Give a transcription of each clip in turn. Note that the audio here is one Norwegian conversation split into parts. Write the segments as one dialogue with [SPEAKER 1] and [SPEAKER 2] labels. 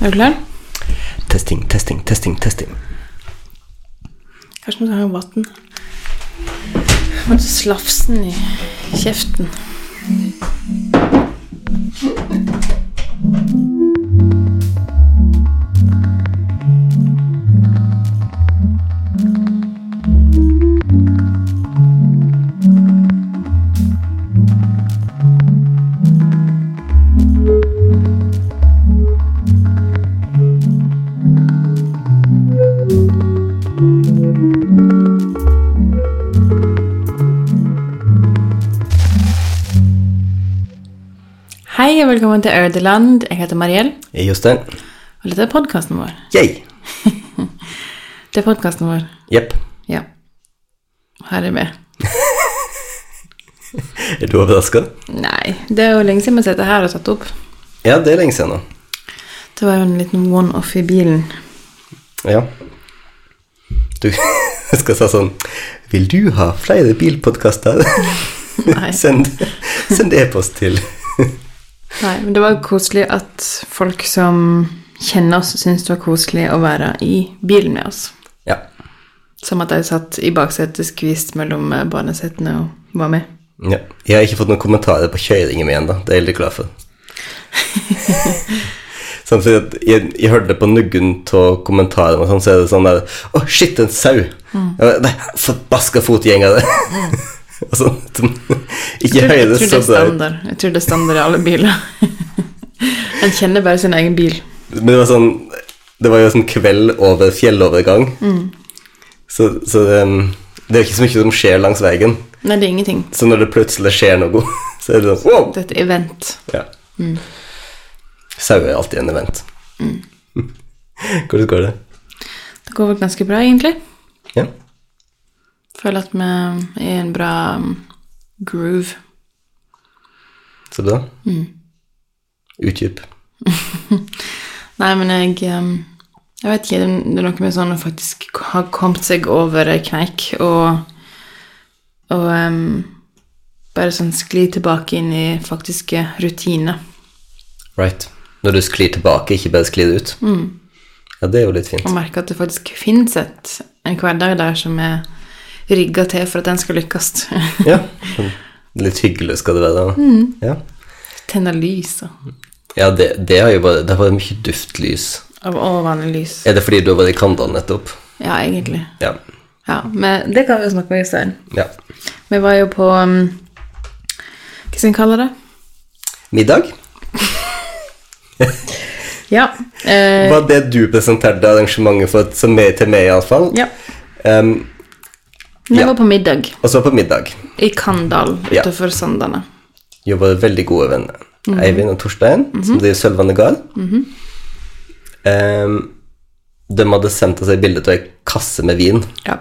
[SPEAKER 1] Er du klar?
[SPEAKER 2] Testing, testing, testing, testing.
[SPEAKER 1] Kanskje må du ha vann. Må du slafse den i kjeften. Hei og velkommen til Ødeland. Jeg heter Mariell,
[SPEAKER 2] Hei, Jostein.
[SPEAKER 1] og dette er podkasten vår.
[SPEAKER 2] Yay!
[SPEAKER 1] Det er podkasten vår.
[SPEAKER 2] Jepp.
[SPEAKER 1] Ja. Her er vi.
[SPEAKER 2] Er du overraska?
[SPEAKER 1] Nei, det er jo lenge siden vi har sittet her og tatt opp.
[SPEAKER 2] Ja, det er lenge siden nå.
[SPEAKER 1] Det var jo en liten one-off i bilen.
[SPEAKER 2] Ja. Du jeg skal si sånn Vil du ha flere bilpodkaster?
[SPEAKER 1] Nei.
[SPEAKER 2] send send e-post til
[SPEAKER 1] Nei, men det var koselig at folk som kjenner oss, syntes det var koselig å være i bilen med oss.
[SPEAKER 2] Ja.
[SPEAKER 1] Som at de satt i baksetet skvist mellom eh, barnesetene og var med.
[SPEAKER 2] ja. Jeg har ikke fått noen kommentarer på kjøringen min ennå. Det er jeg veldig glad for. Samtidig at jeg, jeg hørte det på nuggen av kommentarene, og sånn, så er det sånn der Å, shit, en sau!
[SPEAKER 1] Mm.
[SPEAKER 2] Ja, Nei, forbaska fotgjengere! og sånn. sånn, Ikke sånn
[SPEAKER 1] Jeg tror, jeg
[SPEAKER 2] høyre,
[SPEAKER 1] tror det
[SPEAKER 2] så
[SPEAKER 1] er
[SPEAKER 2] bra.
[SPEAKER 1] standard. Jeg tror det er standard i alle biler. En kjenner bare sin egen bil.
[SPEAKER 2] Men det var sånn Det var jo sånn kveld over fjellovergang.
[SPEAKER 1] Mm.
[SPEAKER 2] Så, så det, um, det er jo ikke så mye som skjer langs veien.
[SPEAKER 1] Nei, det er ingenting.
[SPEAKER 2] Så når det plutselig skjer noe, så er det sånn wow!
[SPEAKER 1] Dette er event.
[SPEAKER 2] Ja.
[SPEAKER 1] Mm.
[SPEAKER 2] Sauer er alltid en event. Hvordan går det?
[SPEAKER 1] Det går vel ganske bra, egentlig.
[SPEAKER 2] Ja.
[SPEAKER 1] Føler at vi er i en bra mm, groove.
[SPEAKER 2] Så bra.
[SPEAKER 1] Mm.
[SPEAKER 2] Utdyp.
[SPEAKER 1] Nei, men jeg ehm, Jeg vet ikke, det er noe med sånn å faktisk ha kommet seg over ei kneik og Og ehm, bare sånn skli tilbake inn i faktiske rutiner.
[SPEAKER 2] Right. Når du sklir tilbake, ikke bare sklir ut.
[SPEAKER 1] Mm.
[SPEAKER 2] Ja, det er jo litt fint.
[SPEAKER 1] Og merke at det faktisk fins et en hverdag der som er rigga til for at den skal lykkes.
[SPEAKER 2] Ja. Litt hyggelig skal det være.
[SPEAKER 1] Mm.
[SPEAKER 2] Ja,
[SPEAKER 1] Tenne lys og,
[SPEAKER 2] ja det, det har jo bare Det har vært mye duftlys.
[SPEAKER 1] og, og vanlig lys.
[SPEAKER 2] Er det fordi du har vært i Canada nettopp?
[SPEAKER 1] Ja, egentlig.
[SPEAKER 2] Ja.
[SPEAKER 1] Ja, men det kan vi jo snakke om i stedet.
[SPEAKER 2] ja.
[SPEAKER 1] Vi var jo på ehm, Hva skal en kalle det?
[SPEAKER 2] Middag?
[SPEAKER 1] Ja. Eh,
[SPEAKER 2] Var det du presenterte arrangementet for, som er til meg, iallfall?
[SPEAKER 1] ja.
[SPEAKER 2] Um,
[SPEAKER 1] Vi
[SPEAKER 2] Ja.
[SPEAKER 1] var på middag
[SPEAKER 2] og så på middag.
[SPEAKER 1] i Kandal
[SPEAKER 2] Ja.
[SPEAKER 1] utenfor Sandane.
[SPEAKER 2] Jo, var veldig gode venner. Eivind og Torstein, som driver Sølvane Gard. um, de hadde sendt oss et bilde av ei kasse med vin,
[SPEAKER 1] Ja.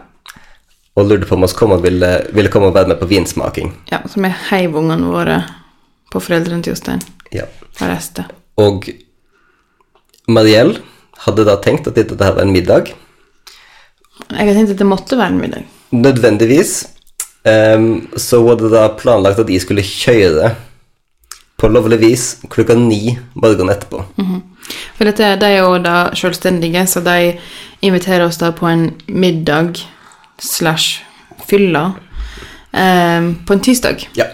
[SPEAKER 2] og lurte på om oss kom og ville, ville komme og være med på vinsmaking.
[SPEAKER 1] ja så vi heiv ungene våre på foreldrene til Jostein
[SPEAKER 2] Ja.
[SPEAKER 1] og reiste.
[SPEAKER 2] Og Mariell hadde da tenkt at dette her var en middag.
[SPEAKER 1] Jeg har tenkt at det måtte være en middag.
[SPEAKER 2] Nødvendigvis. Ehm, så var det da planlagt at jeg skulle kjøre på lovlig vis klokka ni morgenen etterpå.
[SPEAKER 1] For dette, de er jo da selvstendige, så de inviterer oss da på en middag slash fylla eh, på en tirsdag.
[SPEAKER 2] Ja.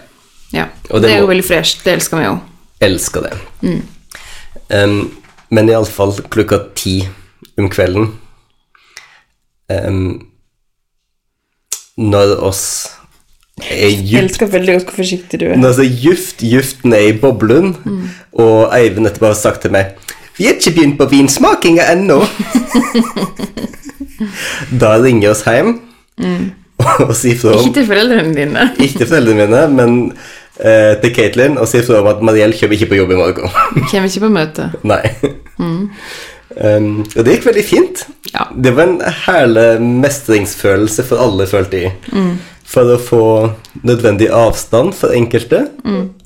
[SPEAKER 1] Ja.
[SPEAKER 2] Og det
[SPEAKER 1] det, er jo
[SPEAKER 2] må-
[SPEAKER 1] veldig fresh. Det elsker vi jo.
[SPEAKER 2] Elsker det. Ehm, men iallfall klokka ti om kvelden ehm, Når oss er djupt
[SPEAKER 1] elsker veldig godt hvor forsiktig du er.
[SPEAKER 2] Når oss er djupt, djupt ned i boblen, og Eivind etterpå har sagt til meg Vi har ikke begynt på vinsmakinga ennå. da ringer oss hjem og sier fra om
[SPEAKER 1] Ikke til foreldrene dine.
[SPEAKER 2] Ikke til foreldrene mine, men eh, til Caitlin, og sier fra om at Mariell kommer ikke på jobb i morgen.
[SPEAKER 1] Kommer ikke på møte.
[SPEAKER 2] Nei. Um, og det gikk veldig fint.
[SPEAKER 1] Ja.
[SPEAKER 2] Det var en herlig mestringsfølelse for alle, følte jeg. For å få nødvendig avstand for enkelte,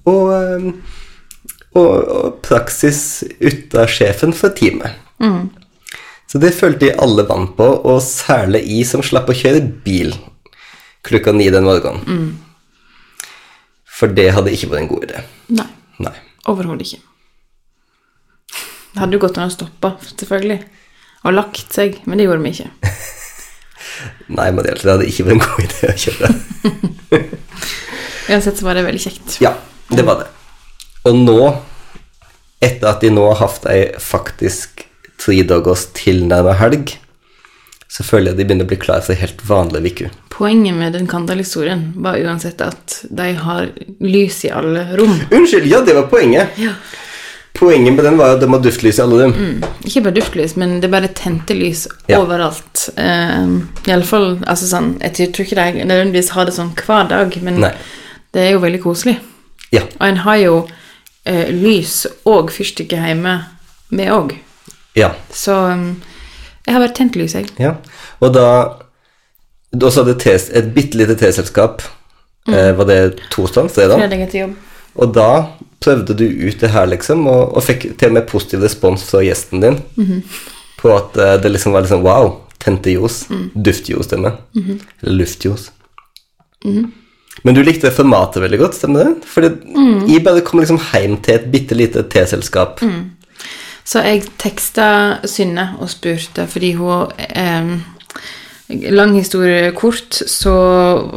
[SPEAKER 2] og, um, og, og praksis ut av sjefen for teamet. Så det følte jeg alle vant på, og særlig jeg som slapp å kjøre bil klokka ni den morgenen. For det hadde ikke vært en god idé.
[SPEAKER 1] Nei.
[SPEAKER 2] Nei.
[SPEAKER 1] Overhodet ikke. Det hadde jo gått an å stoppe, selvfølgelig. Og lagt seg, men det gjorde vi ikke.
[SPEAKER 2] Nei, men det hadde ikke vært en god idé å kjøre.
[SPEAKER 1] Uansett så var det veldig kjekt.
[SPEAKER 2] Ja, det var det. Og nå, etter at de nå har hatt ei faktisk tre dagers tilnærmet helg, så føler jeg de begynner å bli klar for ei helt vanlig uke.
[SPEAKER 1] Poenget med den Kandal-historien var uansett at de har lys i alle rom.
[SPEAKER 2] Unnskyld, ja, det var poenget.
[SPEAKER 1] Ja.
[SPEAKER 2] Poenget med den var jo at de har duftlys i alle rom.
[SPEAKER 1] Ikke bare duftlys, men det er bare tente lys
[SPEAKER 2] Ja.
[SPEAKER 1] overalt. Um, Iallfall altså sånn Jeg tror ikke de nødvendigvis har det sånn hver dag, men
[SPEAKER 2] Nei.
[SPEAKER 1] det er jo veldig koselig.
[SPEAKER 2] Ja,
[SPEAKER 1] Og en har jo eh, lys og fyrstikker hjemme, vi òg.
[SPEAKER 2] ja,
[SPEAKER 1] Så um, jeg har bare tent lys, jeg.
[SPEAKER 2] ja. Og da, da så hadde tes, et bitte lite teselskap, eh, var det torsdag, fredag?
[SPEAKER 1] Fredag etter jobb.
[SPEAKER 2] Og da prøvde du ut det her, liksom, og, og fikk til og med positiv respons fra gjesten din på at eh, det liksom var liksom Wow, tente ljos. Duftljos, stemmer Eller luftljos. Men du likte formatet veldig godt, stemmer det? For jeg bare kom liksom hjem til et bitte lite teselskap.
[SPEAKER 1] Så jeg teksta Synne og spurte, fordi hun eh, Lang historie kort, så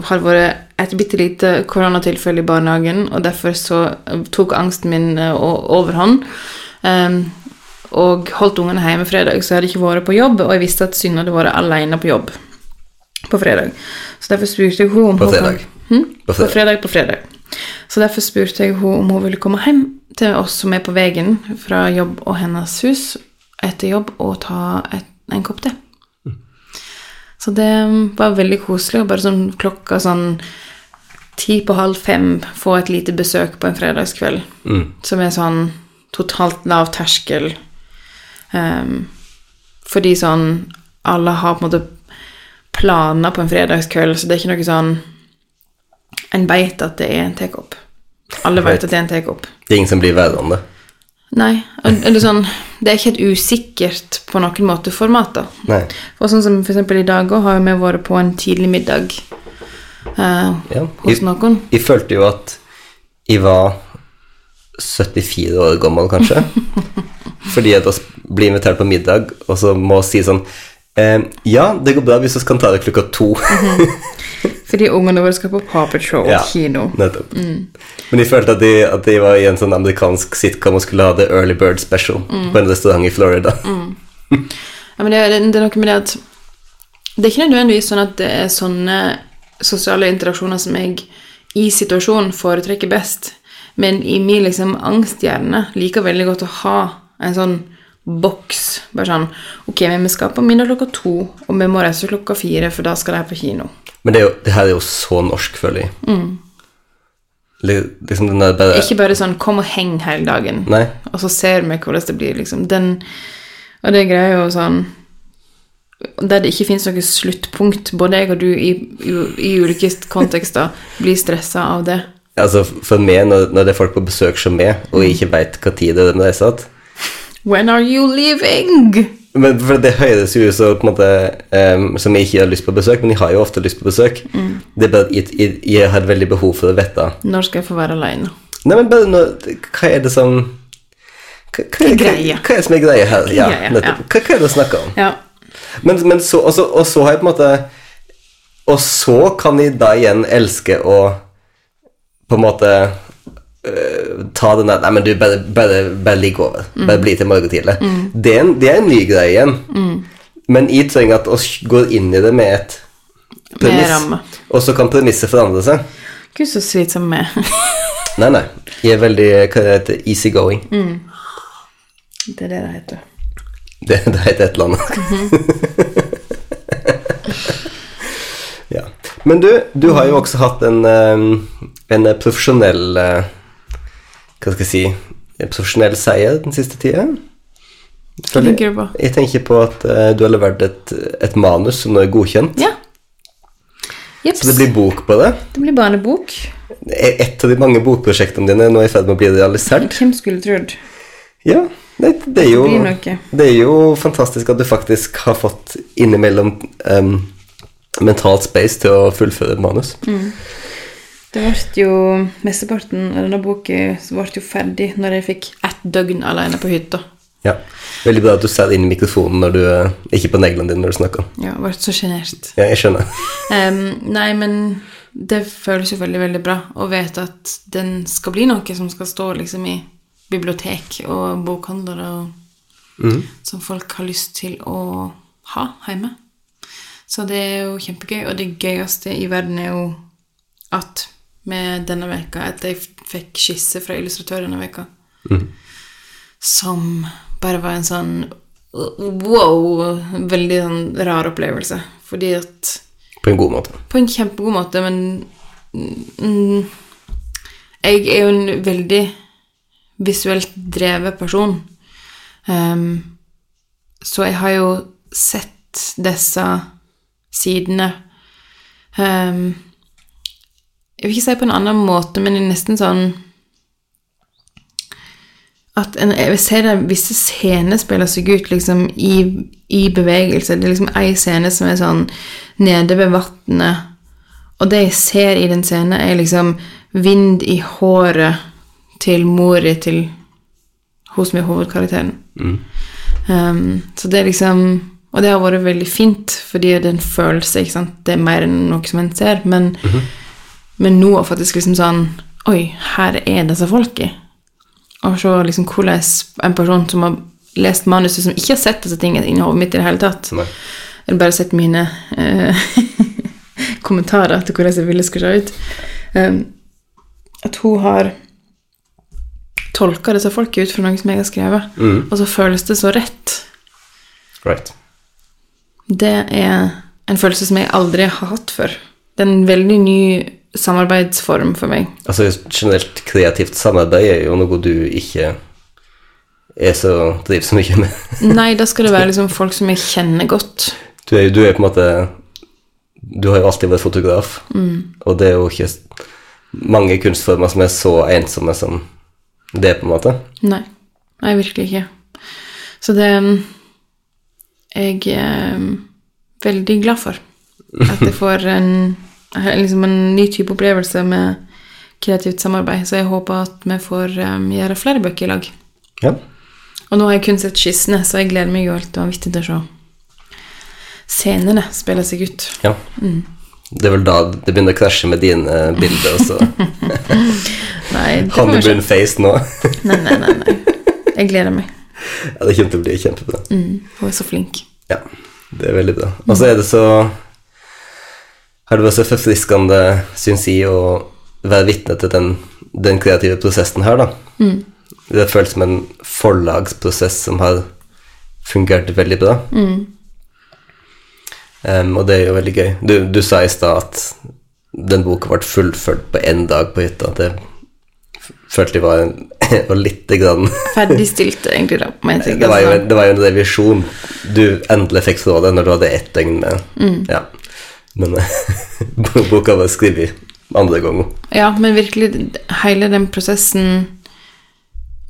[SPEAKER 1] har det vært et bitte lite koronatilfelle i barnehagen, og derfor så tok angsten min eh, o- overhånd. Eh, og holdt ungene hjemme fredag, så jeg hadde ikke vært på jobb, og jeg visste at Synne hadde vært alene på jobb på fredag. Så derfor spurte jeg hun om
[SPEAKER 2] På
[SPEAKER 1] hun
[SPEAKER 2] fredag.
[SPEAKER 1] Kan, hm?
[SPEAKER 2] På
[SPEAKER 1] På
[SPEAKER 2] fredag.
[SPEAKER 1] fredag. på fredag Så derfor spurte jeg hun om hun ville komme hjem til oss som er på veien fra jobb og hennes hus etter jobb og ta et, en kopp te.
[SPEAKER 2] Hm.
[SPEAKER 1] Så det var veldig koselig, og bare sånn klokka sånn ti på halv fem få et lite besøk på en fredagskveld,
[SPEAKER 2] Hm.
[SPEAKER 1] som er sånn totalt lav terskel. Ehm, fordi sånn alle har på en måte planer på en fredagskveld, så det er ikke noe sånn En veit at det er en tekopp. Alle veit at det er en tekopp.
[SPEAKER 2] Det er ingen som blir værende.
[SPEAKER 1] Nei. Eller sånn Det er ikke et usikkert på noen måte format, da.
[SPEAKER 2] Nei.
[SPEAKER 1] Og sånn som for eksempel i dag òg, har jo vi vært på en tidlig middag eh,
[SPEAKER 2] Ja.
[SPEAKER 1] hos
[SPEAKER 2] Jeg,
[SPEAKER 1] noen.
[SPEAKER 2] jeg følte jo at jeg var 74 år gammel, kanskje. Fordi at oss blir invitert på middag, og så må vi si sånn eh, Ja, det går bra hvis vi kan ta det klokka to.
[SPEAKER 1] Fordi ungene våre skal på Paw Patrol
[SPEAKER 2] Ja,
[SPEAKER 1] kino. Mm.
[SPEAKER 2] Nettopp. Men jeg følte at de, at de var i en sånn amerikansk sitcom og skulle ha The Early Bird Special
[SPEAKER 1] Mm.
[SPEAKER 2] på en restaurant i Florida.
[SPEAKER 1] Ja, men det, er- det er noe med det at Det er ikke nødvendigvis sånn at det er sånne sosiale interaksjoner som jeg i situasjonen foretrekker best, men i min liksom angsthjerne liker veldig godt å ha en sånn boks. Bare sånn Ok, men vi skal på middag klokka to, og vi må reise klokka fire, for da skal de på kino.
[SPEAKER 2] Men det, er jo, det her er jo så norsk, føler jeg. Li- Liksom den der bare
[SPEAKER 1] Mm. Ikke bare sånn 'kom og heng hele dagen',
[SPEAKER 2] Nei.
[SPEAKER 1] og så ser vi hvordan det blir, liksom. Den, og det greier jo sånn Der det ikke fins noe sluttpunkt, både jeg og du i, i, i ulike kontekster blir stressa av det.
[SPEAKER 2] Altså, for meg, når, når det er folk på besøk som meg, og jeg ikke veit hva tid det er de reiser til
[SPEAKER 1] When are you leaving?
[SPEAKER 2] Men for Det høres jo ut som, på en måte, em, som jeg ikke har lyst på besøk, men jeg har jo ofte lyst på besøk. Det er bare at jeg, jeg, jeg har et veldig behov for å vite
[SPEAKER 1] Når skal jeg få være aleine?
[SPEAKER 2] Nei, men bare når, hva er det som hva, hva, er-
[SPEAKER 1] Greie.
[SPEAKER 2] hva er det som er greia her? Ja,
[SPEAKER 1] Greie, ja.
[SPEAKER 2] nettopp. Hva, hva er det å snakke om?
[SPEAKER 1] Ja.
[SPEAKER 2] Men, men så, og, så, og så har jeg på en måte Og så kan jeg da igjen elske å på en måte øh, ta den der Nei, men du, bare, bare, bare ligg over. Bare bli til morgen tidlig. Det, er en, det er en ny greie igjen. Men jeg trenger at oss går inn i det med et
[SPEAKER 1] ramme.
[SPEAKER 2] premiss. Og så kan premisset forandre seg.
[SPEAKER 1] Gud, så slitsom vi er.
[SPEAKER 2] Nei, nei. Jeg er veldig hva det heter, easy going.
[SPEAKER 1] Det er det det heter.
[SPEAKER 2] Det, det heter et eller annet.
[SPEAKER 1] Mhm.
[SPEAKER 2] ja. Men du, du har jo også hatt en, eh, en profesjonell eh, Hva skal jeg si En profesjonell seier den siste tida. Føler-
[SPEAKER 1] tenker du på?
[SPEAKER 2] Jeg tenker på at eh, du har levert et, et manus som nå er godkjent.
[SPEAKER 1] Ja. Jeps.
[SPEAKER 2] Så det blir bok på det. E-
[SPEAKER 1] barnebok.
[SPEAKER 2] Et av de mange bokprosjektene dine er nå i ferd med å bli realisert.
[SPEAKER 1] Hvem skulle trodd?
[SPEAKER 2] Ja, nei, det, er jo,
[SPEAKER 1] Det blir noe.
[SPEAKER 2] det er jo fantastisk at du faktisk har fått innimellom um, mentalt space til å fullføre et manus.
[SPEAKER 1] Mm. Det ble jo, Mesteparten av denne boka ble jo ferdig når jeg fikk ett døgn alene på hytta.
[SPEAKER 2] Ja. Veldig bra at du satt inn i mikrofonen når du eh, Ikke på neglene dine når du snakka.
[SPEAKER 1] Ja, vært så sjenert.
[SPEAKER 2] Ja, jeg skjønner.
[SPEAKER 1] Em, nei, men det føles jo veldig, veldig bra å vite at den skal bli noe som skal stå liksom i bibliotek og bokhandler og som folk har lyst til å ha hjemme. Så det er jo kjempegøy, og det gøyeste i verden er jo at med denne veka, at jeg f- fikk skisse fra illustratør denne veka, som bare var en sånn wow, veldig sånn rar opplevelse. Fordi at
[SPEAKER 2] På en god måte.
[SPEAKER 1] på en kjempegod måte, men mm, Jeg er jo en veldig visuelt drevet person. Ehm, så jeg har jo sett disse sidene ehm, Jeg vil ikke si på en annen måte, men det er nesten sånn at en, jeg ser det, visse scener spiller seg ut liksom, i, i bevegelse. Det er liksom ei scene som er sånn nede ved vannet. Og det jeg ser i den scenen, er liksom vind i håret til mora til hun som er hovedkarakteren. Um, så det er liksom Og det har vært veldig fint, fordi det er en følelse, ikke sant. Det er mer enn noe som en ser. Men, men nå er faktisk liksom sånn Oi, her er disse folka. Og se liksom hvordan en person som har lest manuset, som ikke har sett disse tingene inni hodet mitt i det hele tatt
[SPEAKER 2] Nei.
[SPEAKER 1] Eller bare sett mine eh, kommentarer til hvordan jeg ville skulle se ut eh, At hun har tolka disse folka ut fra noe som jeg har skrevet, og så føles det så rett.
[SPEAKER 2] Right.
[SPEAKER 1] Det er en følelse som jeg aldri har hatt før. Det er en veldig ny samarbeidsform for meg.
[SPEAKER 2] Altså generelt kreativt samarbeid er jo noe du ikke er så driver så mye med.
[SPEAKER 1] Nei, da skal det være liksom folk som jeg kjenner godt.
[SPEAKER 2] Du er, jo- du er på en måte Du har jo alltid vært fotograf, og det er jo ikke s- mange kunstformer som er så ensomme som det, på en måte.
[SPEAKER 1] Nei. Nei, virkelig ikke. Så det mm, Jeg er mm, veldig glad for at jeg får en, liksom en ny type opplevelse med kreativt samarbeid, så jeg håper at vi får mm, gjøre flere bøker i lag.
[SPEAKER 2] Ja.
[SPEAKER 1] Og nå har jeg kun sett skissene, så jeg gleder meg jo helt vanvittig til å se scenene spille seg ut.
[SPEAKER 2] ja. Det er vel da det begynner å krasje med dine bilder, og så
[SPEAKER 1] Nei, det får vi se.
[SPEAKER 2] honeymoon face nå.
[SPEAKER 1] Nei, nei, nei, nei. Jeg gleder meg. Mm,
[SPEAKER 2] ja, det kommer til å bli kjempebra.
[SPEAKER 1] Hun er så flink.
[SPEAKER 2] Ja, det er veldig bra. Og så er det så Har det vært så forfriskende, syns jeg, å være vitne til den, den kreative prosessen her, da. Det føles som en forlagsprosess som har fungert veldig bra. Em, og det er jo veldig gøy. Du, du sa i stad at den boka ble fullført på én dag på hytta. Det f- følte jeg var en, og lite grann
[SPEAKER 1] Ferdigstilte, egentlig, da. Men jeg
[SPEAKER 2] det
[SPEAKER 1] tenker
[SPEAKER 2] var, jo,
[SPEAKER 1] sånn-
[SPEAKER 2] det var jo en revisjon du endelig fikk fra deg når du hadde ett døgn med. Ja. Men boka var skrevet andre gangen.
[SPEAKER 1] Ja, men virkelig hele den prosessen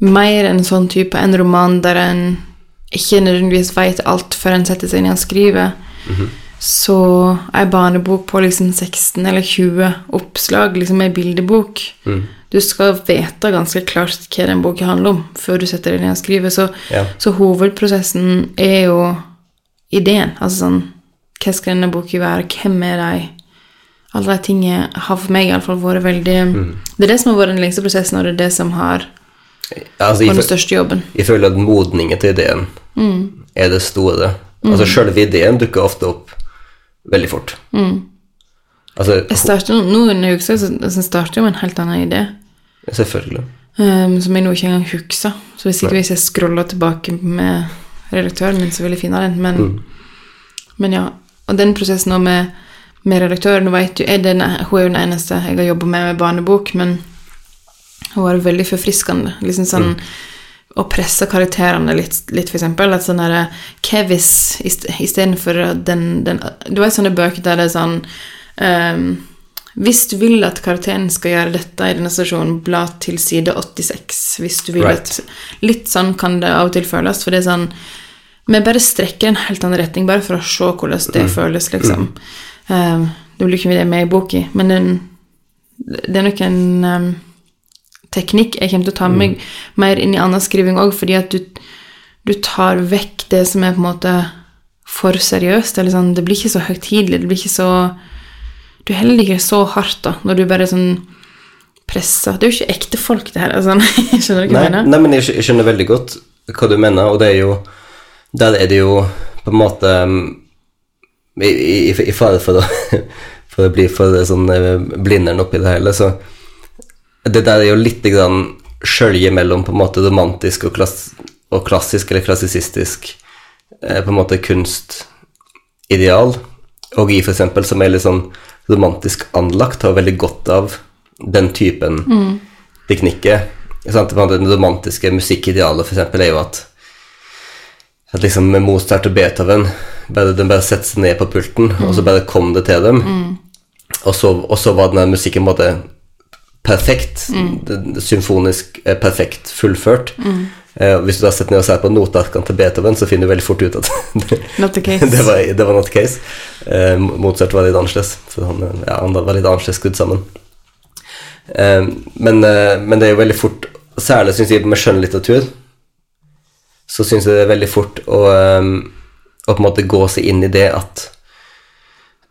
[SPEAKER 1] Mer en sånn type en roman der en ikke nødvendigvis veit alt før en setter seg ned og skriver. Så ei barnebok på liksom 16 eller 20 oppslag, liksom ei bildebok Du skal vite ganske klart hva den boka handler om, før du setter deg ned og skriver. Så,
[SPEAKER 2] Ja.
[SPEAKER 1] så hovedprosessen er jo ideen. Altså sånn Hva skal denne boka være? Hvem er de? Alle de tingene har for meg i alle fall vært veldig Det er det som har vært den lengste prosessen, og det er det som har vært
[SPEAKER 2] Altså, jeg,
[SPEAKER 1] den
[SPEAKER 2] fø-
[SPEAKER 1] største jobben.
[SPEAKER 2] jeg føler at modningen til ideen er det store. Altså, sjølve ideen dukker ofte opp veldig fort.
[SPEAKER 1] Jeg
[SPEAKER 2] Altså,
[SPEAKER 1] starter, nå under uka så så starter jeg med en helt annen idé,
[SPEAKER 2] selvfølgelig.
[SPEAKER 1] ehm, som jeg nå ikke engang husker. Så hvis ikke hvis jeg scroller tilbake med redaktøren min, så vil jeg finne den. Men, men ja. Og den prosessen nå med, med redaktøren, nå vet du, er den, hun er jo den eneste jeg har jobba med med barnebok, men hun var veldig forfriskende. Liksom sånn Å presse karakterene litt, litt for eksempel. At sånn derre Hva hvis istedenfor den, den Du vet sånne bøker der det er sånn ehm, Hvis du vil at karakteren skal gjøre dette i denne stasjonen, bla til side 86. Hvis du vil
[SPEAKER 2] Right.
[SPEAKER 1] at Litt sånn kan det av og til føles, for det er sånn Vi bare strekker en helt annen retning, bare for å se hvordan det føles, liksom. Ehm, det blir ikke mye det med i boka, men den, det er nok en
[SPEAKER 2] Mm.
[SPEAKER 1] ehm, teknikk jeg kommer til å ta med meg mer inn i annen skriving òg, fordi at du, du tar vekk det som er på en måte for seriøst. Eller sånn, det blir ikke så høytidelig. Det blir ikke så Du heller ikke så hardt da, når du bare sånn presser. Det er jo ikke ekte folk, det her. Altså, skjønner du hva
[SPEAKER 2] Nei,
[SPEAKER 1] jeg mener?
[SPEAKER 2] nei, men jeg skj- jeg skjønner veldig godt hva du mener, og det er jo Der er det jo på en måte mm, I, i, i fare for å, for å bli for sånn eh, blinderen oppi det hele, så Det der er jo litt grann skjølje mellom på en måte romantisk og, klass, og klassisk, eller klassisistisk eh, på en måte kunstideal. Og jeg, for eksempel, som er litt sånn romantisk anlagt, har veldig godt av den typen teknikker. Sant? På en måte, Det romantiske musikkidealet, for eksempel, er jo at at liksom med Mozart og Beethoven bare, De bare setter seg ned på pulten, og så bare kom det til dem. Og, så, og så var den der musikken på en måte perfekt, det- det symfonisk eh, perfekt fullført. Eh, og hvis du da setter ned og ser på notearkene til Beethoven, så finner du veldig fort ut at det,
[SPEAKER 1] Not the case.
[SPEAKER 2] det, var, det var not case. Eh, Mozart var litt annerledes, for han, eh, ja, han var litt annerledes skrudd sammen. Eh, men, eh, men det er jo veldig fort, særlig syns jeg med skjønnlitteratur, så syns jeg det er veldig fort å, eh, å på en måte gå seg inn i det at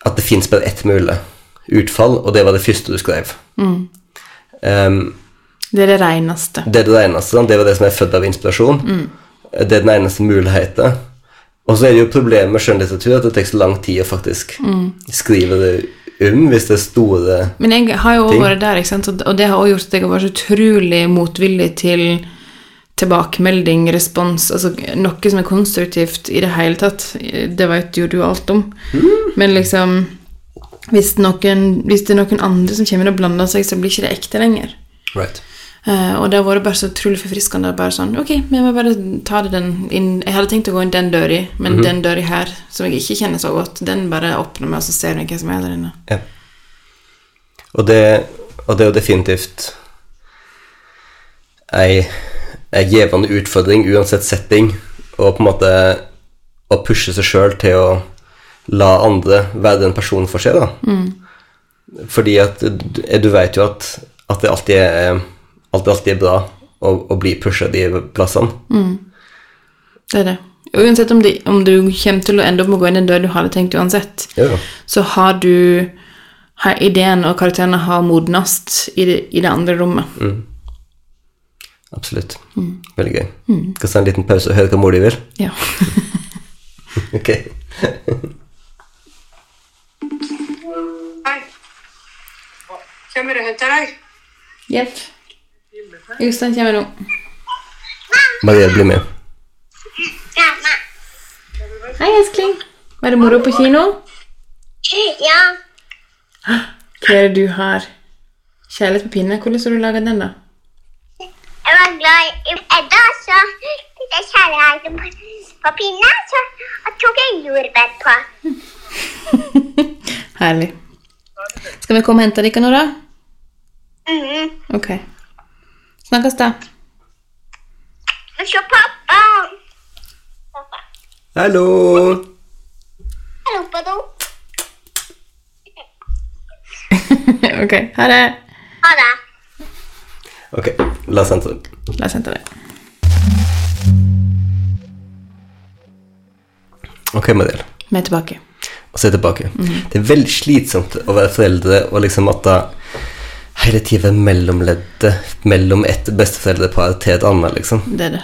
[SPEAKER 2] at det fins bare ett mulig utfall, og det var det første du skrev. Um,
[SPEAKER 1] Det er det reneste.
[SPEAKER 2] det er det eneste, sant? det var det som er født av inspirasjon. Det er den eneste muligheten. Og så er det jo problemet med skjønnlitteratur at det tar så lang tid å faktisk skrive det om hvis det er store
[SPEAKER 1] Men jeg har jo også vært der, ikke sant? og det har også gjort at jeg har vært så utrolig motvillig til tilbakemelding, respons, altså noe som er konstruktivt i det hele tatt. Det vet jo du alt om. Men liksom hvis, noen, hvis det er noen andre som kommer inn og blander seg, så blir ikke det ekte lenger. Eh, og det har vært bare så utrolig forfriskende. Bare sånn, ok, vi må bare ta det den inn. Jeg hadde tenkt å gå inn den døra, men den døra her, som jeg ikke kjenner så godt, den bare åpner meg, og så ser jeg hva som er der inne.
[SPEAKER 2] Ja. Og, det, og det er jo definitivt ei, ei gjevende utfordring, uansett setting, og på en måte å pushe seg sjøl til å la andre være den personen for seg, da. Fordi at du, du vet jo at, at det alltid er, alltid, alltid er bra å, å bli pusha de plassene.
[SPEAKER 1] Det er det. Uansett om, det, om du kommer til å ende opp med å gå inn den døra du hadde tenkt uansett,
[SPEAKER 2] Ja, ja.
[SPEAKER 1] så har du har ideen og karakterene har modnast i det, i det andre rommet.
[SPEAKER 2] Absolutt. Veldig gøy. Skal ta en liten pause og høre hva mor di vil?
[SPEAKER 1] Ja.
[SPEAKER 2] Ok.
[SPEAKER 3] Hei. Kjemmer og henter deg.
[SPEAKER 1] Jepp. Jostein kommer nå.
[SPEAKER 2] Maria, bli med.
[SPEAKER 1] Hei, Eskling. Var det moro på kino?
[SPEAKER 4] Ja,
[SPEAKER 1] Hva er det du har? Kjærlighet på pinne. Hvordan har du laget den, da?
[SPEAKER 4] jeg var glad i Edda, så fikk jeg kjærligheten på, på pinne, så og tok jeg jordbær på.
[SPEAKER 1] Herlig. Skal vi komme og hente dere nå, da?
[SPEAKER 4] Mm.
[SPEAKER 1] Ok. Snakkes, da.
[SPEAKER 4] Og så pappa. Pappa,
[SPEAKER 2] Hallo!
[SPEAKER 4] jeg lå på do.
[SPEAKER 1] ok, ha det.
[SPEAKER 4] Ha det.
[SPEAKER 2] Ok, la oss hente den.
[SPEAKER 1] La oss hente deg.
[SPEAKER 2] Ok, Mariel.
[SPEAKER 1] Vi er tilbake.
[SPEAKER 2] Og så er jeg tilbake.
[SPEAKER 1] Mhm.
[SPEAKER 2] Det er veldig slitsomt å være foreldre og liksom at da hele tida være mellomleddet mellom et besteforeldrepar til et annet, liksom.
[SPEAKER 1] Det er det.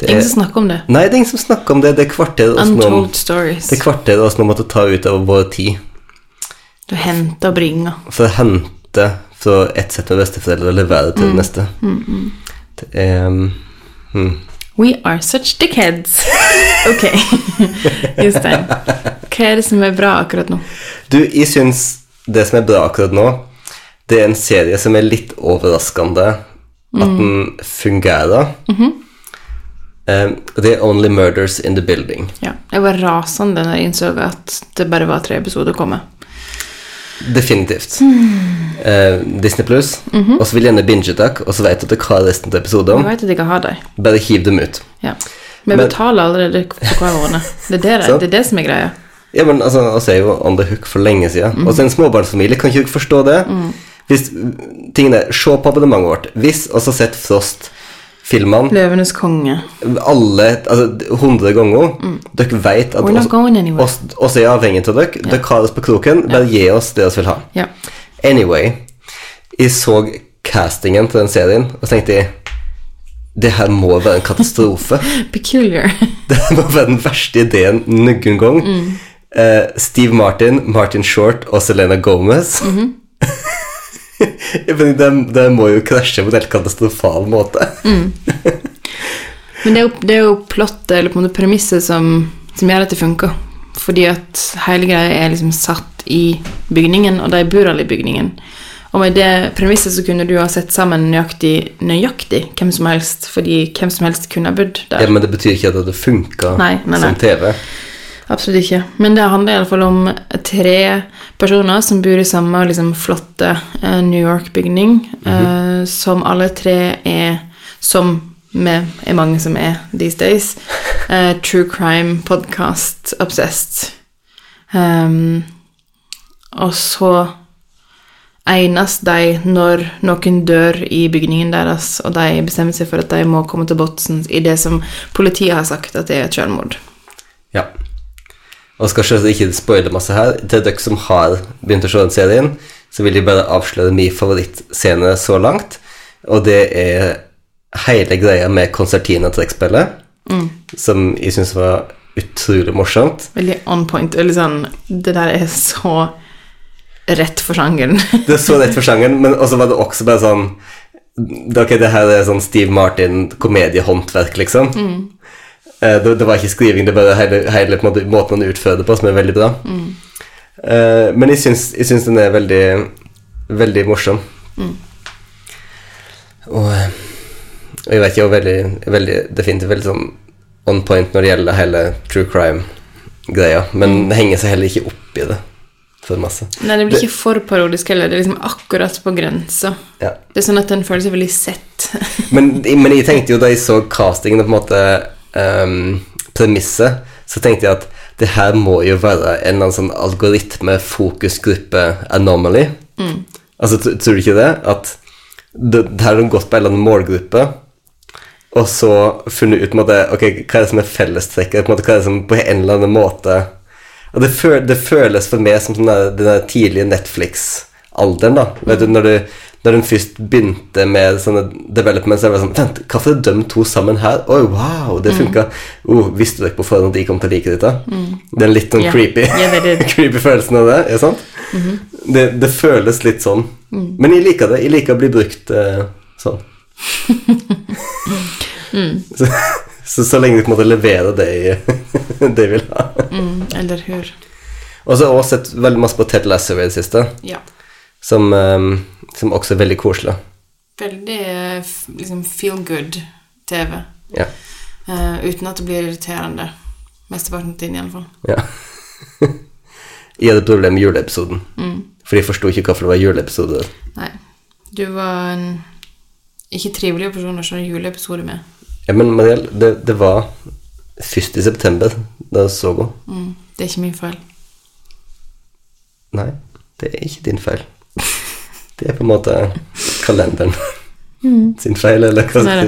[SPEAKER 2] Det
[SPEAKER 1] Ingen
[SPEAKER 2] er,
[SPEAKER 1] som snakker om det.
[SPEAKER 2] nei, det er ingen som snakker om det. Det er kvarter oss nå,
[SPEAKER 1] Untold stories.
[SPEAKER 2] det er kvarter oss nå måtte ta ut av vår tid
[SPEAKER 1] Du henter og bringer.
[SPEAKER 2] for å hente fra ett sett med besteforeldre og levere
[SPEAKER 1] Mm.
[SPEAKER 2] til det neste. Det er mm.
[SPEAKER 1] We are such dickheads. Ok, Jostein. Hva er det som er bra akkurat nå?
[SPEAKER 2] Du, jeg syns det som er bra akkurat nå, det er en serie som er litt overraskende at den fungerer. Eh, det er Only Murders in the Building.
[SPEAKER 1] Ja, jeg var rasende når jeg innså at det bare var tre episoder å komme.
[SPEAKER 2] Definitivt. Eh, Disney Pluss. Og så vil jeg gjerne binge takk, og så vet du at du har resten av
[SPEAKER 1] Jeg
[SPEAKER 2] episoden.
[SPEAKER 1] vet at jeg har dem.
[SPEAKER 2] Bare hiv dem ut.
[SPEAKER 1] Ja. Vi betaler allerede for hver måned. Det er det, det,
[SPEAKER 2] Sant.
[SPEAKER 1] det, er det som er greia.
[SPEAKER 2] Ja, men altså, oss er jo on the hook for lenge siden. Og så en småbarnsfamilie kan ikke forstå det. Hvis tingene, Se på abonnementet vårt. Hvis oss har sett Frost filmene
[SPEAKER 1] Løvenes konge.
[SPEAKER 2] alle altså, 100 ganger. Dere vet
[SPEAKER 1] Mm.
[SPEAKER 2] at
[SPEAKER 1] We're not
[SPEAKER 2] oss-
[SPEAKER 1] going anywhere.
[SPEAKER 2] oss, oss er avhengig av dere. Dere har oss på kroken. Bare gi oss det vi vil ha.
[SPEAKER 1] Ja.
[SPEAKER 2] Anyway, jeg så castingen til den serien, og så tenkte jeg det her må være en katastrofe.
[SPEAKER 1] Peculiar.
[SPEAKER 2] det her må være den verste ideen noen gang.
[SPEAKER 1] Mm.
[SPEAKER 2] Eh, Steve Martin, Martin Short og Selena Gomez.
[SPEAKER 1] Mhm.
[SPEAKER 2] Jeg mener, de, de må jo krasje på en helt katastrofal måte.
[SPEAKER 1] Men det er jo, det er jo plottet, eller på en måte premisset, som, som gjør at det funker. Fordi at hele greia er liksom satt i bygningen, og de bor alle i bygningen. Og med det premisset så kunne du ha sett sammen nøyaktig, nøyaktig hvem som helst, fordi hvem som helst kunne ha bodd der.
[SPEAKER 2] Ja, men det betyr ikke at det funka
[SPEAKER 1] Nei, nei, nei.
[SPEAKER 2] som TV.
[SPEAKER 1] Absolutt ikke. Men det handler i alle fall om tre personer som bor i samme liksom, flotte eh, New York-bygning, eh, som alle tre er Som med, er mange som er these days. eh, true crime podcast obsessed. Ehm, og så egnes de når noen dør i bygningen deres, og de bestemmer seg for at de må komme til botsen i det som politiet har sagt at det er et selvmord.
[SPEAKER 2] Ja. Og skal selvsagt ikke spoile masse her. Til dere som har begynt å se den serien, så vil jeg bare avsløre min favorittscene så langt. Og det er hele greia med konsertina-trekkspillet, som jeg syns var utrolig morsomt.
[SPEAKER 1] Veldig on point. Eller sånn Det der er så rett for sjangeren.
[SPEAKER 2] Det er så rett for sjangeren, men også var det også bare sånn det- Ok, det her er sånn Steve Martin-komediehåndverk, liksom. Eh, Det, det var ikke skriving, det er bare hele, hele på en måte, måten han utfører det på, som er veldig bra. Eh, men jeg syns, jeg syns den er veldig, veldig morsom. Og, eh, og jeg vet ikke, og veldig, veldig definitivt veldig sånn on point når det gjelder hele true crime-greia, men henger seg heller ikke opp i det for masse.
[SPEAKER 1] Nei, det blir ikke for parodisk heller. Det er liksom akkurat på grensa.
[SPEAKER 2] Ja.
[SPEAKER 1] Det er sånn at den føles veldig sett.
[SPEAKER 2] Men, men jeg tenkte jo da jeg så castingen og på en måte ehm, premisset, så tenkte jeg at det her må jo være en eller annen sånn algoritme-fokusgruppe anomaly. Altså, tr- tror du ikke det? At det, det her har gått på en eller annen målgruppe, og så funnet ut på en måte, ok, hva er det som er fellestrekket, på en måte, hva er det som på en eller annen måte og det, føl, det føles for meg som sånn der, den der tidlige Netflix-alderen. da Vet du, når, du, når den først begynte med sånne developments, så var det sånn Vent, hvorfor er de to sammen her? Oi, wow,
[SPEAKER 1] Mm.
[SPEAKER 2] det funka. Oh, visste dere på forhånd at de kom til å like dette? Den litt sånn
[SPEAKER 1] Ja,
[SPEAKER 2] creepy,
[SPEAKER 1] jeg er veldig-
[SPEAKER 2] creepy følelsen av det. Er sant? det, det føles litt sånn. Men jeg liker det. Jeg liker å bli brukt eh, sånn. så, så, så lenge de på en måte leverer det jeg- det jeg vil ha.
[SPEAKER 1] Mm. Eller hør.
[SPEAKER 2] Og så har jeg også sett veldig masse på Ted Lasso i det siste,
[SPEAKER 1] Ja.
[SPEAKER 2] som, eh, som også er veldig koselig.
[SPEAKER 1] Veldig eh, f- liksom feel good-TV.
[SPEAKER 2] Ja.
[SPEAKER 1] Eh, uten at det blir irriterende. Mesteparten av tiden, iallfall.
[SPEAKER 2] ja. jeg hadde et problem med juleepisoden, for jeg forsto ikke hvorfor det var juleepisode.
[SPEAKER 1] Nei. Du var en ikke trivelig person å se en juleepisode med.
[SPEAKER 2] Ja, men Mariel, det, det var 1. september da jeg så henne.
[SPEAKER 1] Mm. Det er ikke min feil.
[SPEAKER 2] Nei, det er ikke din feil. Det er på en måte kalenderen sin feil, eller hva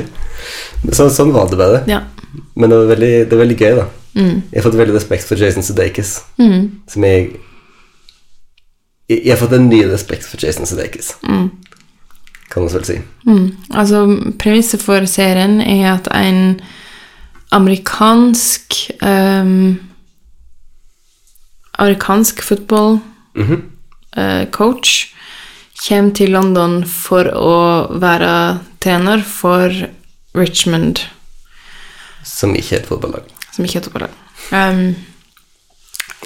[SPEAKER 1] Mm. Sånn er det.
[SPEAKER 2] skal jeg si. Så, sånn var det bare.
[SPEAKER 1] Ja. Mm.
[SPEAKER 2] Men det var veldig, det var veldig gøy, da. Jeg har fått veldig respekt for Jason Sudeikis. Som jeg jeg jeg har fått en ny respekt for Jason Sudeikis.
[SPEAKER 1] Mm.
[SPEAKER 2] Kan man vel si.
[SPEAKER 1] Altså, premisset for serien er at en amerikansk ehm, Amerikansk football eh, coach kommer til London for å være trener for Richmond,
[SPEAKER 2] Som ikke er et fotballag.
[SPEAKER 1] som ikke heter på det. Ehm,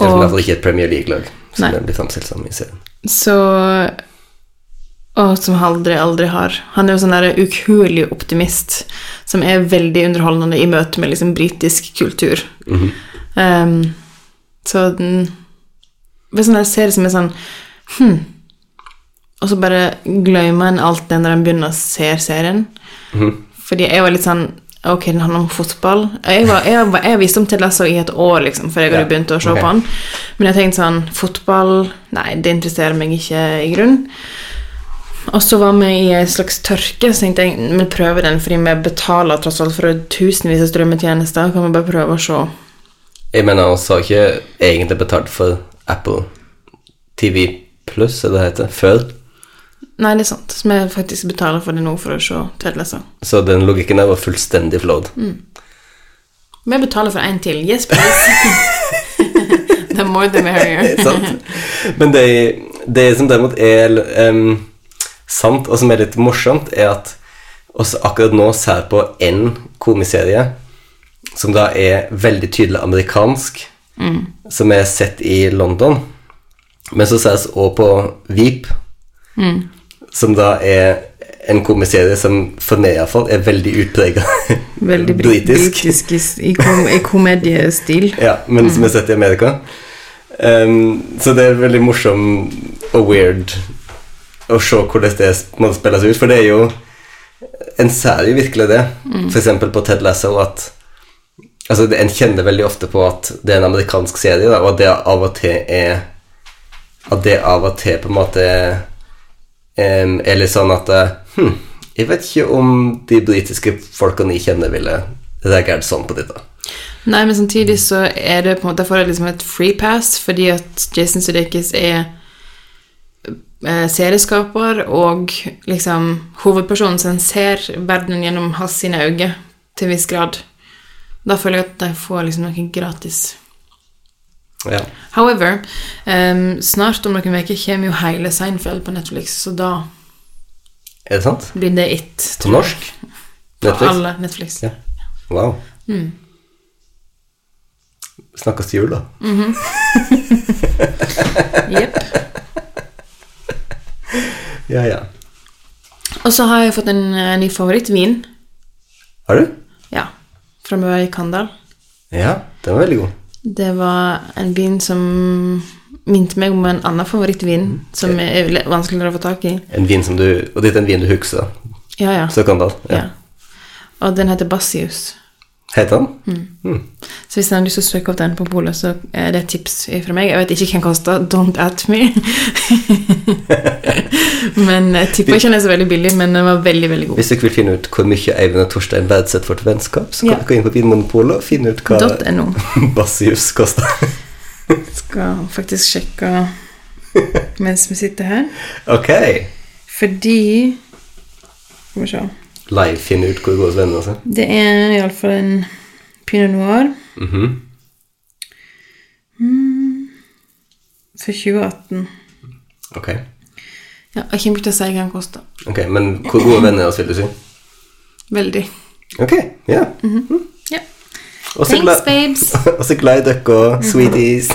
[SPEAKER 2] Eller i
[SPEAKER 1] Og-
[SPEAKER 2] hvert fall ikke et Premier League-lag. Som
[SPEAKER 1] Nei.
[SPEAKER 2] det blir fremstilt som i serien.
[SPEAKER 1] Så Og som han aldri, aldri har. Han er jo sånn der ukuelig optimist som er veldig underholdende i møte med liksom britisk kultur. um, så den Ved sånn der serie som er sånn hm, Og så bare glemmer en alt det når en begynner å se serien.
[SPEAKER 2] Mhm.
[SPEAKER 1] Fordi jeg var litt sånn Ok, den handler om fotball. Jeg, var, jeg, var, jeg visste om Ted Lasso i et år, liksom, før jeg hadde
[SPEAKER 2] Ja,
[SPEAKER 1] begynt å se
[SPEAKER 2] ok.
[SPEAKER 1] på han. Men jeg tenkte sånn Fotball Nei, det interesserer meg ikke i grunn. Og så var vi i en slags tørke, så tenkte jeg vi prøver den, fordi vi betaler tross alt for tusenvis av strømmetjenester. Kan vi bare prøve å se?
[SPEAKER 2] Jeg mener, vi har ikke egentlig betalt for Apple TV Pluss, er det det heter, før.
[SPEAKER 1] Nei, det er sant. Så vi faktisk betaler for det nå for å se TV-leser.
[SPEAKER 2] Så den logikken der var fullstendig flådd.
[SPEAKER 1] Mm. Vi betaler for en til. Yes, please. the more the merrier.
[SPEAKER 2] sant? Men det, det som derimot er em, sant, og som er litt morsomt, er at oss akkurat nå ser på en komiserie som da er veldig tydelig amerikansk,
[SPEAKER 1] Mm.
[SPEAKER 2] som er sett i London. Men så ses også på Veep,
[SPEAKER 1] Mm.
[SPEAKER 2] som da er en komiserie som for meg iallfall er veldig utprega
[SPEAKER 1] Veldig bri- britisk i, i, kom, i komediestil.
[SPEAKER 2] Ja, men som er sett i Amerika. Ehm, så det er veldig morsom og weird å se hvordan det sp- må spilles ut, for det er jo En ser jo virkelig det, For f.eks. på Ted Lasso, at Altså, det- En kjenner veldig ofte på at det er en amerikansk serie, da, og at det av og til er At det av og til på en måte ehm, er litt sånn at eh, Hm, jeg vet ikke om de britiske folkene jeg kjenner, ville reagert sånn på dette.
[SPEAKER 1] Nei, men samtidig så er det på en måte, jeg får jeg liksom et free pass, fordi at Jason Sudeikis er eh, serieskaper, og liksom hovedpersonen som ser verden gjennom hans sine øyne til en viss grad. Da føler jeg at de får liksom noe gratis.
[SPEAKER 2] Ja.
[SPEAKER 1] However, ehm, snart om noen uker kommer jo hele Seinfeld på Netflix, så da
[SPEAKER 2] Er det sant?
[SPEAKER 1] blir det it.
[SPEAKER 2] På norsk?
[SPEAKER 1] Netflix?
[SPEAKER 2] Netflix?
[SPEAKER 1] Alle Netflix.
[SPEAKER 2] Ja. Wow.
[SPEAKER 1] Mm.
[SPEAKER 2] Snakkes til jul, da.
[SPEAKER 1] Jep.
[SPEAKER 2] Ja, ja.
[SPEAKER 1] Og så har jeg fått en eh, ny favorittvin.
[SPEAKER 2] Har du?
[SPEAKER 1] Ja. Fra Møa i Kandal.
[SPEAKER 2] Ja, den var veldig god.
[SPEAKER 1] Det var en vin som minte meg om en annen favorittvin
[SPEAKER 2] Mm.
[SPEAKER 1] som er le- vanskeligere å få tak i.
[SPEAKER 2] En vin som du, Og dette er en vin du husker,
[SPEAKER 1] Ja, ja.
[SPEAKER 2] Søkandal.
[SPEAKER 1] ja. Og den heter Bassius.
[SPEAKER 2] Heter den?
[SPEAKER 1] Mm. Så hvis noen har lyst til å søke opp den på polet, så er det et tips fra meg. Jeg vet ikke hva den koster. Don't at me. men jeg tipper ikke den er så veldig billig, men den var veldig, veldig god.
[SPEAKER 2] Hvis du ikke vil finne ut hvor mye Eivind og Torstein verdsetter vårt vennskap, så
[SPEAKER 1] Ja.
[SPEAKER 2] kan du gå inn på Vinmonopolet og finne ut hva
[SPEAKER 1] Dot .no.
[SPEAKER 2] Bassius koster.
[SPEAKER 1] Skal faktisk sjekke mens vi sitter her.
[SPEAKER 2] ok.
[SPEAKER 1] Fordi Skal vi se.
[SPEAKER 2] Live finne ut hvor gode venner altså. er.
[SPEAKER 1] Det er iallfall en pinot noir.
[SPEAKER 2] Mhm.
[SPEAKER 1] Mm, For 2018.
[SPEAKER 2] Ok.
[SPEAKER 1] Ja, jeg kommer ikke til å si hva den koster.
[SPEAKER 2] Ok, Men hvor gode venner er oss, vil du si?
[SPEAKER 1] Veldig.
[SPEAKER 2] Ok, ja.
[SPEAKER 1] Ja.
[SPEAKER 2] Og
[SPEAKER 1] Mhm.
[SPEAKER 2] så
[SPEAKER 1] Thanks,
[SPEAKER 2] glad-
[SPEAKER 1] babes.
[SPEAKER 2] Og så glad i dere, sweeties.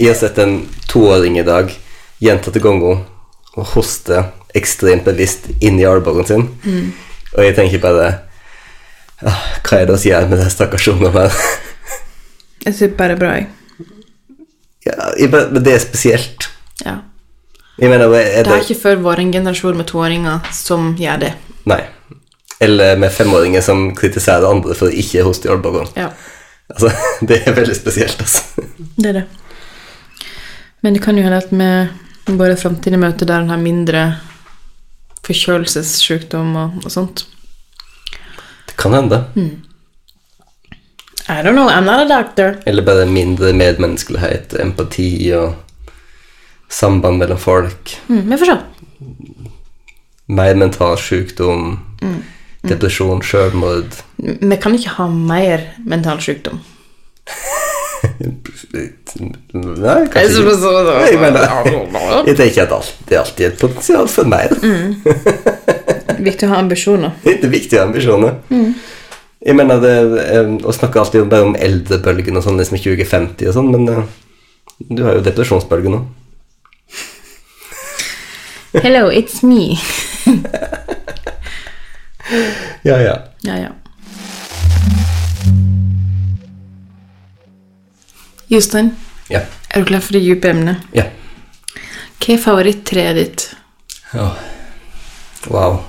[SPEAKER 2] Jeg har sett en toåring i dag gjentatte ganger og hoste ekstremt bevisst inni albuen sin. Og jeg tenker bare «Ah, Hva er det vi gjør med de stakkars ungene her?
[SPEAKER 1] Jeg syns bare bra, jeg.
[SPEAKER 2] Ja, jeg bare- men det er spesielt.
[SPEAKER 1] Ja.
[SPEAKER 2] Jeg mener, er
[SPEAKER 1] Det har ikke før vært en generasjon med toåringer som gjør det.
[SPEAKER 2] Nei. Eller med femåringer som kritiserer andre for å ikke hoste i albuen.
[SPEAKER 1] Ja,
[SPEAKER 2] Altså, det er veldig spesielt, altså.
[SPEAKER 1] det er det. Men det kan jo hende at vi går et framtidig møte der en har mindre forkjølelsessykdom og, og sånt.
[SPEAKER 2] Det kan hende.
[SPEAKER 1] I don't know, I'm not a doctor.
[SPEAKER 2] Eller bare mindre medmenneskelighet, empati og samband mellom folk.
[SPEAKER 1] Mm, vi får se.
[SPEAKER 2] Mer mental sykdom, depresjon, selvmord.
[SPEAKER 1] Vi kan ikke ha mer mental sykdom.
[SPEAKER 2] Nei, kanskje ikke. Jeg mener, jeg tenker at alt, det er alltid et potensial for mer.
[SPEAKER 1] Viktig å ha ambisjoner.
[SPEAKER 2] Det er viktige ambisjoner. Jeg mener, det eh, å snakke alltid om- bare om eldrebølgen og sånn, liksom i 2050 og sånn, men eh, du har jo depresjonsbølgen nå.
[SPEAKER 1] Hello, it's me.
[SPEAKER 2] Ja, ja.
[SPEAKER 1] Ja, ja. Jostein,
[SPEAKER 2] Ja.
[SPEAKER 1] er du klar for det dype emnet?
[SPEAKER 2] ja.
[SPEAKER 1] Hva er favorittreet ditt?
[SPEAKER 2] Åh. Wow.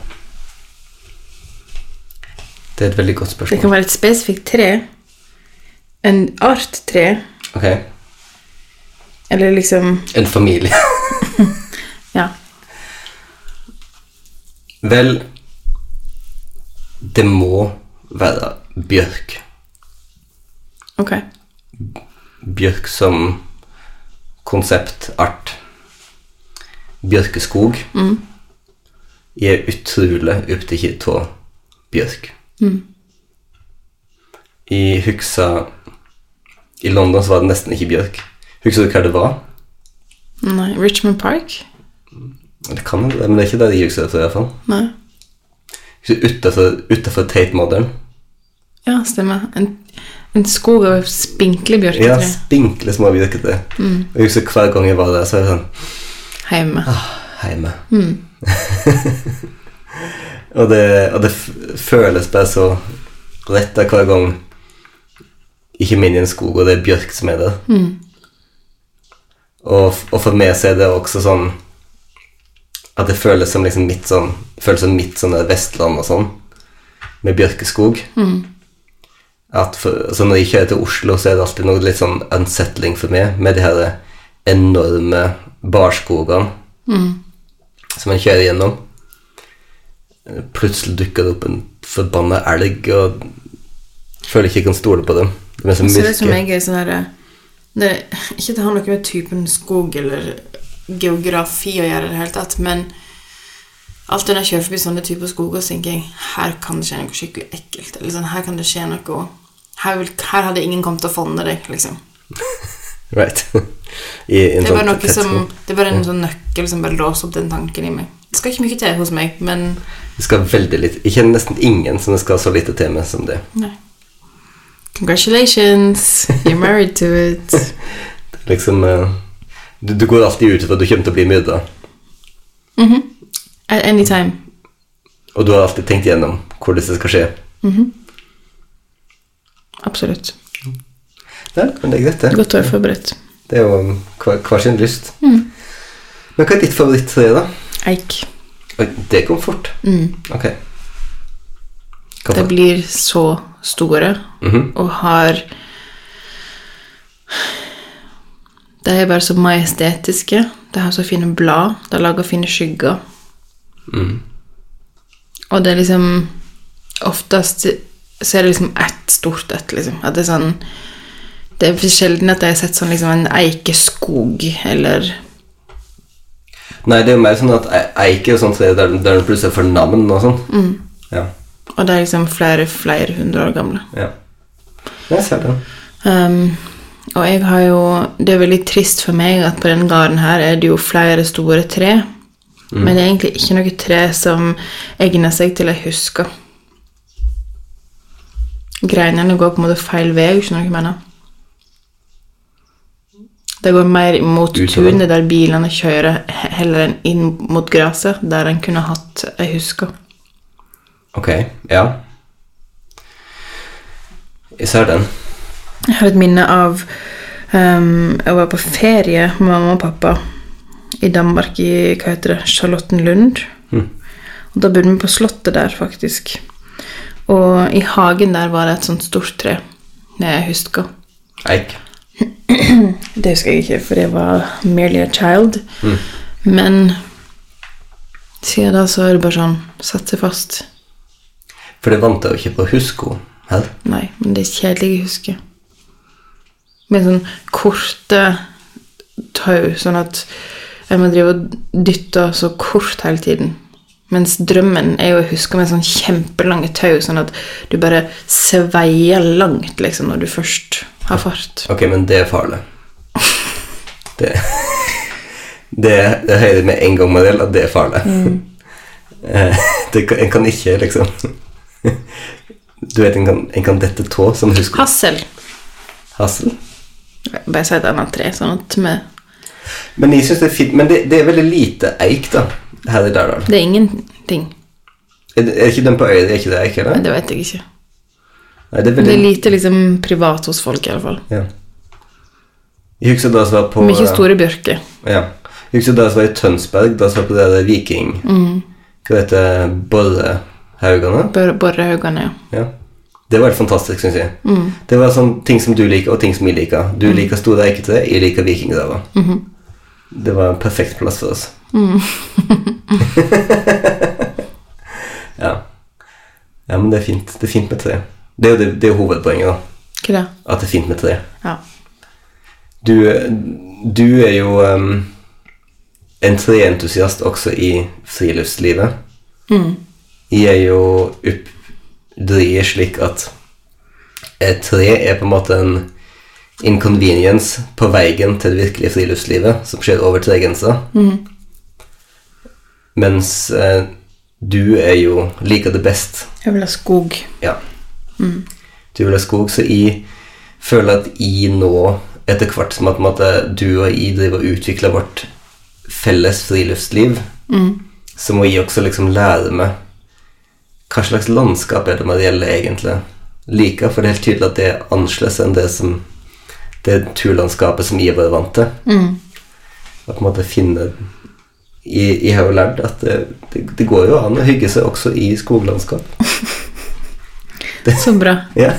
[SPEAKER 2] Det er et veldig godt
[SPEAKER 1] Det
[SPEAKER 2] spørsmål.
[SPEAKER 1] kan være et spesifikt tre, en arttre.
[SPEAKER 2] Ok.
[SPEAKER 1] Eller liksom
[SPEAKER 2] En familie.
[SPEAKER 1] Ja.
[SPEAKER 2] Vel Det må være bjørk.
[SPEAKER 1] Ok.
[SPEAKER 2] Bjørk som konseptart. Bjørkeskog. Jeg er utrolig opptatt av bjørk. Jeg husker I London så var det nesten ikke bjørk. Husker du hva det var?
[SPEAKER 1] Nei. Richmond Park?
[SPEAKER 2] Det kan det, men det er ikke det jeg husker fra, i hvert fall.
[SPEAKER 1] Nei.
[SPEAKER 2] Utenfor, utenfor Tate Modern.
[SPEAKER 1] Ja, stemmer. En, en skog av spinkle
[SPEAKER 2] Ja,
[SPEAKER 1] bjørketre
[SPEAKER 2] spinkle små bjørkete. Og jeg husker hver gang jeg var der, så er det sånn
[SPEAKER 1] hjemme.
[SPEAKER 2] Ah, hjemme. og det, og det f- føles bare så rett av hver gang ikke min i en skog, og det er bjørk som er der. Og, f- og for meg så er det også sånn at det føles som liksom mitt sånn føles som mitt sånn der Vestland og sånn, med bjørkeskog.
[SPEAKER 1] Mm.
[SPEAKER 2] At for, så når jeg kjører til Oslo, så er det alltid noe litt sånn unsettling for meg med de her enorme barskogene
[SPEAKER 1] Mm.
[SPEAKER 2] som man kjører gjennom. Plutselig dukker det opp en forbanna elg, og føler ikke jeg kan stole på dem. De er så
[SPEAKER 1] Ser ut som
[SPEAKER 2] mørke.
[SPEAKER 1] jeg er sånn herre det, Ikke at det har noe med typen skog eller geografi å gjøre i det hele tatt, men alt når jeg kjører forbi sånne typer skoger, så tenker jeg her kan det skje noe skikkelig ekkelt. Eller sånn, her kan det skje noe her, vil, her hadde ingen kommet til å fonde deg, liksom.
[SPEAKER 2] Right. I, i en
[SPEAKER 1] Det er bare
[SPEAKER 2] sånn
[SPEAKER 1] noe
[SPEAKER 2] tett
[SPEAKER 1] som
[SPEAKER 2] skog.
[SPEAKER 1] Det er bare en sånn nøkkel som bare låser opp den tanken i meg. Det skal ikke mye til hos meg, men
[SPEAKER 2] Det skal veldig litt Jeg kjenner nesten ingen som det skal så lite til med som det.
[SPEAKER 1] Nei. Congratulations, you're married to it.
[SPEAKER 2] Det er Liksom eh, du, du går alltid ut for at du kommer til å bli myrda,
[SPEAKER 1] Mhm. At any time.
[SPEAKER 2] og du har alltid tenkt gjennom hvordan det skal skje.
[SPEAKER 1] Absolutt.
[SPEAKER 2] Ja, men det er greit, det.
[SPEAKER 1] Godt å være forberedt.
[SPEAKER 2] Det er jo hver, hver sin lyst. Men hva er ditt favorittre, da?
[SPEAKER 1] Eik.
[SPEAKER 2] Oi, Det kom fort. Ok. Hva
[SPEAKER 1] De
[SPEAKER 2] for-
[SPEAKER 1] blir så store og har De er bare så majestetiske. De har så fine blad. De lager fine skygger. Og det er liksom Oftest så er det liksom ett stort et, liksom. At det er sånn Det er sjelden at jeg har sett sånn liksom en eikeskog eller
[SPEAKER 2] Nei, det er jo mer sånn at e- eik er jo sånn tre der, der du plutselig får navn og sånn. Ja.
[SPEAKER 1] Og det er liksom flere, flere hundre år gamle.
[SPEAKER 2] ja. Jeg ser den.
[SPEAKER 1] Ehm, og jeg har jo Det er veldig trist for meg at på denne gården her er det jo flere store tre. Men det er egentlig ikke noe tre som egner seg til ei huske. Greinene går på en måte feil vei, skjønner du hva jeg mener? Det går mer mot
[SPEAKER 2] Utover.
[SPEAKER 1] tunet der bilene kjører, he- heller enn inn mot gresset, der en kunne hatt eh, ei huske.
[SPEAKER 2] Ok, ja. Jeg ser den.
[SPEAKER 1] Jeg har et minne av ehm, Jeg var på ferie med mamma og pappa i Danmark, i hva heter det, Charlottenlund. Og da bodde vi på Slottet der, faktisk. Og i hagen der var det et sånt stort tre. Det jeg husker.
[SPEAKER 2] Eik.
[SPEAKER 1] Det husker jeg ikke, for jeg var merely a child. Men siden da så er det bare sånn Satt seg fast.
[SPEAKER 2] For det vant jeg jo ikke på Husko her.
[SPEAKER 1] Nei, men det er kjedelige jeg husker. Med sånn korte tau, sånn at jeg må drive og dytte så kort hele tiden. Mens drømmen er jo å huske med sånn kjempelange tau, sånn at du bare sveier langt liksom, når du først har fart.
[SPEAKER 2] Ok, men det er farlig. Det, det, det hører jeg med en gang med del at det er farlig.
[SPEAKER 1] Mm.
[SPEAKER 2] Eh, det, kan- en kan ikke, liksom Du vet, en kan, en kan dette tå som Husko.
[SPEAKER 1] Hassel.
[SPEAKER 2] Hassel.
[SPEAKER 1] Bare si et annet tre, sånn at vi
[SPEAKER 2] Men jeg synes det er fint, men det, det er veldig lite eik da, her i Lærdal.
[SPEAKER 1] Det er ingenting.
[SPEAKER 2] Er, det- er ikke den på øya, er ikke det eik, eller?
[SPEAKER 1] Nei, det vet jeg ikke.
[SPEAKER 2] Nei, det er veldig...
[SPEAKER 1] Det er lite liksom privat hos folk, i alle fall.
[SPEAKER 2] Ja. Jeg husker da jeg var på...
[SPEAKER 1] Mye store bjørker.
[SPEAKER 2] Ja. Jeg husker da jeg var i Tønsberg, da jeg var på det der viking... Hva heter det? Borrehaugene?
[SPEAKER 1] Bor- Borrehaugene, ja.
[SPEAKER 2] Ja. Det var helt fantastisk, syns jeg. Det var sånn ting som du liker, og ting som jeg liker. Du liker store eiketre, jeg liker vikinggraver. Det var en perfekt plass for oss. ja. ja, men det er fint. Det er fint med tre. Det er jo det, det er jo hovedpoenget, da.
[SPEAKER 1] Hva da?
[SPEAKER 2] At det er fint med tre.
[SPEAKER 1] Ja.
[SPEAKER 2] Du, du er jo em, en treentusiast også i friluftslivet. Jeg er jo oppdrevet slik at et tre er på en måte en inconvenience på veien til det virkelige friluftslivet som skjer over tregrensa. Mens eh, du er jo liker det best
[SPEAKER 1] Jeg vil ha skog.
[SPEAKER 2] ja. Du vil ha skog, så jeg føler at jeg nå, etter hvert som at på en måte, du og jeg driver og utvikler vårt felles friluftsliv, så må jeg også liksom lære meg hva slags landskap er det Marielle egentlig liker, for det er helt tydelig at det er annerledes enn det som det turlandskapet som jeg har vært vant til.
[SPEAKER 1] Mm.
[SPEAKER 2] At på en måte finne jeg, jeg har jo lært at det, det, det går jo an å hygge seg også i skoglandskap.
[SPEAKER 1] Så bra.
[SPEAKER 2] Ja.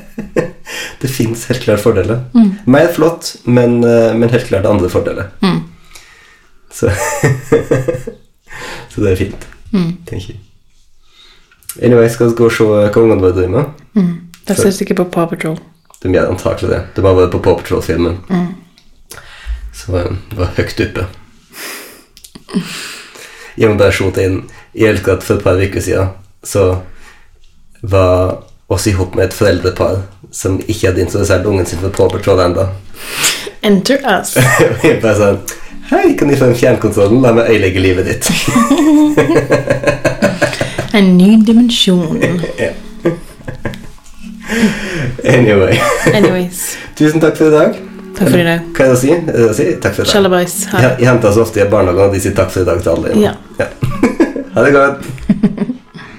[SPEAKER 2] det fins helt klart fordeler. Mer flott, men, eh, men helt klart andre fordeler.
[SPEAKER 1] Mm.
[SPEAKER 2] Så, så det er fint, tenker jeg. Anyway, skal vi gå og se eh, hva ungene våre driver med?
[SPEAKER 1] Da ser jeg sikkert på Paw Patrol.
[SPEAKER 2] De gjør antakelig det. De har vært på Paw Patrol-filmen. Så eh, det var høyt oppe. Jeg må bare skjote inn Jeg elsker at for et par uker siden så var oss ihop med et foreldrepar som ikke hadde introdusert ungen sin for Paw Patrol ennå.
[SPEAKER 1] Enter us.
[SPEAKER 2] Jeg bare sånn Hei, kan de få en fjernkontroll? La meg øyelegge livet ditt.
[SPEAKER 1] En ny dimensjon.
[SPEAKER 2] Anyway.
[SPEAKER 1] Anyways.
[SPEAKER 2] Tusen takk for i dag.
[SPEAKER 1] Takk for i dag.
[SPEAKER 2] Hva er det å si? Er det å si? Takk for i dag.
[SPEAKER 1] Shalabais. Ha det.
[SPEAKER 2] Jeg, jeg henter så ofte i barnehagen at de sier takk for i dag til alle.
[SPEAKER 1] Ja.
[SPEAKER 2] ha det godt.